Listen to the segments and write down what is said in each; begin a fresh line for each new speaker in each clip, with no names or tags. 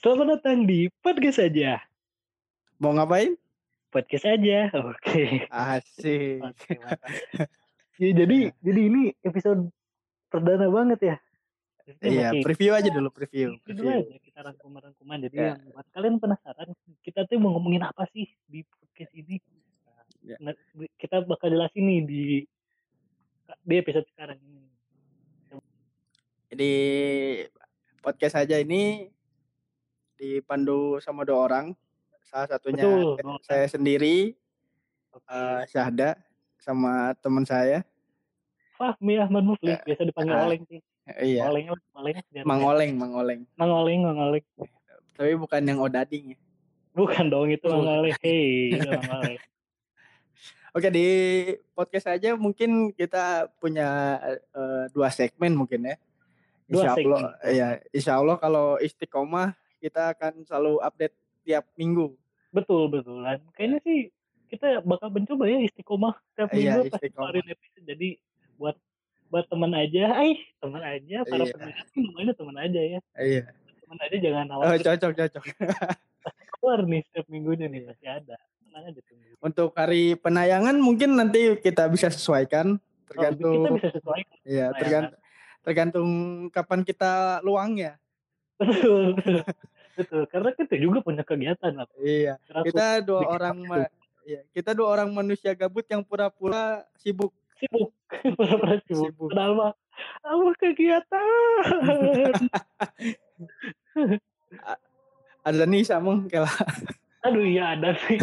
Selamat datang di podcast aja.
Mau ngapain?
Podcast aja. Oke.
Asik.
Oke, mantap. Ya,
Iya.
jadi jadi ini episode perdana banget ya. Maksudnya
Iya,
masih-
preview aja dulu preview.
Itu
preview.
aja kita rangkuman-rangkuman. Jadi
Ya.
yang buat kalian penasaran, kita tuh mau ngomongin apa sih di podcast ini? Nah,
Ya.
nge- Kita bakal jelasin nih di di episode sekarang ini.
Jadi podcast aja ini dipandu sama dua orang. Salah satunya
Betul,
saya-
dua orang.
saya sendiri
Oke.
eh, Syahda sama teman saya.
Fahmi Ahmad Mufli,
Ya.
biasa dipanggil
Ah,
Oleng sih.
Eh, Iya,
Oleng, Oleng. biar-
Mang Oleng, Mang Oleng.
Mang Oleng, Mang Oleng.
Tapi bukan yang odading ya.
Bukan dong itu Mang
Bukan.
Oleng. Hei, itu Mang Oleng.
Oke, di podcast aja mungkin kita punya eh, dua segmen mungkin ya.
Dua
Insya Allah,
segmen.
ya, insya Allah kalau istiqomah kita akan selalu update tiap minggu.
Betul, betulan. Kayaknya sih kita bakal mencoba ya istiqomah setiap
Iya,
minggu pasti
istiqomah.
keluarin episode. Jadi buat buat teman aja, eh teman aja, para
Iya.
pendengar sih namanya teman aja ya.
Iya.
Teman aja jangan
Oh,
khawatir
cocok cocok.
keluar nih setiap minggunya nih pasti ada. Tenang aja tunggu.
Untuk hari penayangan mungkin nanti kita bisa
Oh,
sesuaikan
kita
tergantung
bisa sesuaikan.
ya
penayangan.
tergantung tergantung kapan kita ya. luangnya.
Betul, betul. betul. Karena kita juga punya kegiatan lah.
Iya.
Kita
Kita dua
Bikin
orang
waktu.
ma- iya, kita dua orang manusia gabut yang pura-pura sibuk.
sibuk, pura-pura sibuk.
Sibuk.
Padahal mah, apa kegiatan?
Ada nih sama kela
Aduh iya ada sih.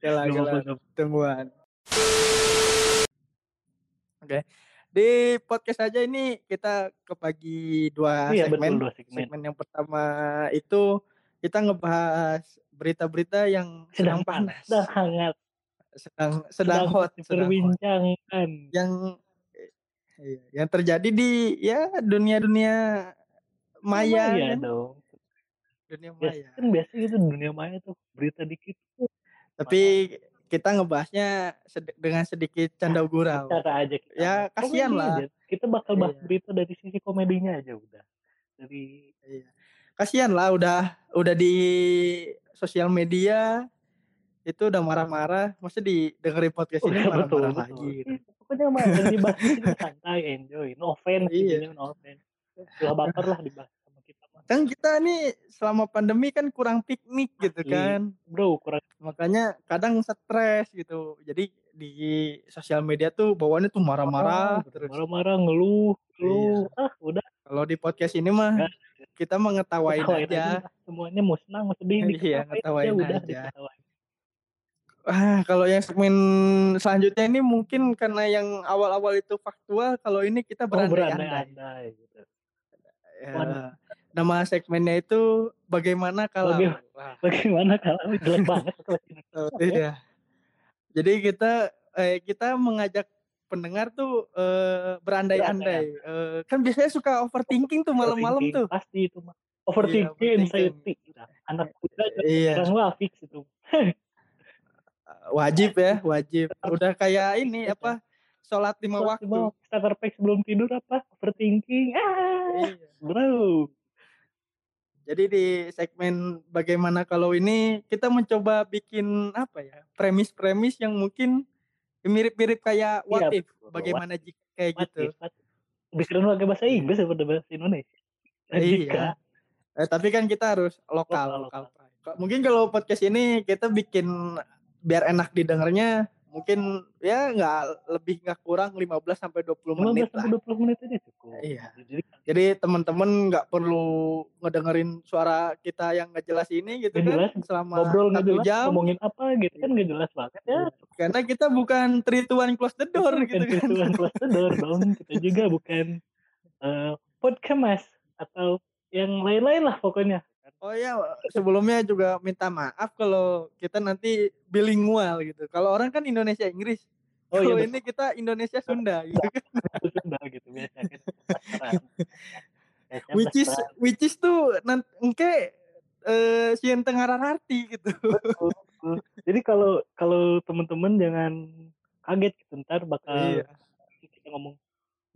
kela
Gak
kela
apa-apa.
tungguan. Oke. Di podcast aja ini kita kebagi dua
Iya betul
segmen.
dua segmen.
segmen yang pertama itu kita ngebahas berita-berita yang sedang panas,
sedang hangat,
sedang sedang hot, sedang hot.
diperbincangkan.
yang iya, yang terjadi di ya dunia-dunia maya, kan?
ya dong.
dunia maya.
Biasanya kan biasanya itu dunia maya tuh berita dikit uh,
Tapi kita ngebahasnya sed- dengan sedikit canda gurau.
cara aja kita.
Ya,
Komedi
kasihan lah.
aja. Kita bakal bahas
Iya.
berita dari sisi komedinya aja udah. Dari
Kasihan lah udah udah di sosial media itu udah marah-marah, mesti di dengerin podcast ini
Udah,
marah-marah
betul,
lagi. gitu.
betul. Iya, Pokoknya mah yang dibahas itu santai, enjoy, no offense,
Iya.
intinya no offense. Gak baper lah dibahas sama kita mah.
kan kita nih selama pandemi kan kurang piknik gitu
Asli.
kan
Bro, kurang
makanya kadang stres gitu jadi di sosial media tuh bawaannya tuh marah-marah
orang,
gitu
Oh,
terus Iya.
marah-marah ngeluh, ngeluh. Ah, udah
kalau di podcast ini mah
Nggak.
kita mengetawain
Ya. ketawain
aja
lah. Semuanya mau senang, mau sedih,
Iya,
diketawain
ngetawain
udah
aja.
diketawain.
ah kalau yang segmen selanjutnya ini mungkin karena yang awal-awal itu faktual kalau ini kita
Oh,
berandai-andai
berandai-andai gitu.
Ya,
Waduh.
nama segmennya itu bagaimana kalau
Bagaimana? Nah, Bagaimana kalau jelek banget kalau ini?
Oh, iya. Jadi kita eh, kita mengajak pendengar tuh eh, berandai-andai. Eh, kan biasanya suka overthinking tuh malam-malam
Overthinking,
tuh. Iya,
Pasti itu mah. Overthinking,
overthinking.
anxiety. Nah, anak muda kan
Iya,
sekarang mah fix itu.
wajib ya, wajib. Udah kayak ini apa? Iya. Sholat lima
Wah,
waktu.
gimana? Starter pack sebelum tidur apa? Overthinking. Ah,
Iya.
bro.
Jadi di segmen bagaimana kalau ini kita mencoba bikin apa ya? Premis-premis yang mungkin mirip-mirip kayak what
Iya,
if, bagaimana jika kayak gitu.
Mati, mati. Lebih keren pakai bahasa Inggris daripada bahasa Indonesia. Jika
Iya. Eh, tapi kan kita harus
Lokal,
lokal, lokal. Ka- Mungkin kalau podcast ini kita bikin biar enak didengarnya mungkin ya nggak lebih nggak kurang 15 sampai 20 menit
15
lah.
sampai 20 menit aja cukup.
Iya.
Jadi
Jadi teman-teman nggak perlu ngedengerin suara kita yang nggak jelas ini gitu
Nggak jelas,
kan selama
ngobrol nggak
satu
jelas,
jam Iya.
ngomongin apa gitu kan nggak jelas banget ya.
karena kita bukan three to one close the door
Bukan
gitu kan.
virtual plus the door dong. Kita juga bukan eh podcast atau yang lain-lain lah pokoknya.
Oh ya, sebelumnya juga minta maaf kalau kita nanti bilingual gitu. Kalau orang kan Indonesia Inggris.
Oh
kalau
iya
ini kita Indonesia Sunda gitu.
betul Sunda gitu biasa kan. Pasaran. Biasanya
which is
pasaran.
which is tuh nanti engke eh Sien Tengah Rararti gitu.
Betul, betul. Jadi kalau kalau teman-teman jangan kaget gitu ntar bakal
Iya.
kita ngomong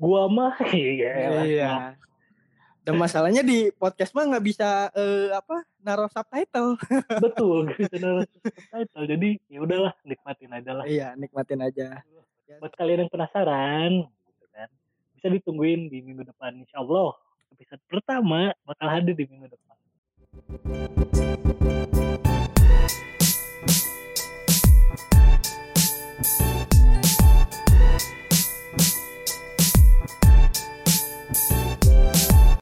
gua mah iya lah.
Iya. Dan masalahnya di podcast mah nggak bisa eh, apa naruh subtitle.
betul gitu. gak bisa naruh subtitle jadi ya udahlah nikmatin aja lah
Iya, nikmatin aja. Iya. kan?
buat kalian yang penasaran gitu kan bisa ditungguin di minggu depan insya Allah episode pertama bakal hadir di minggu depan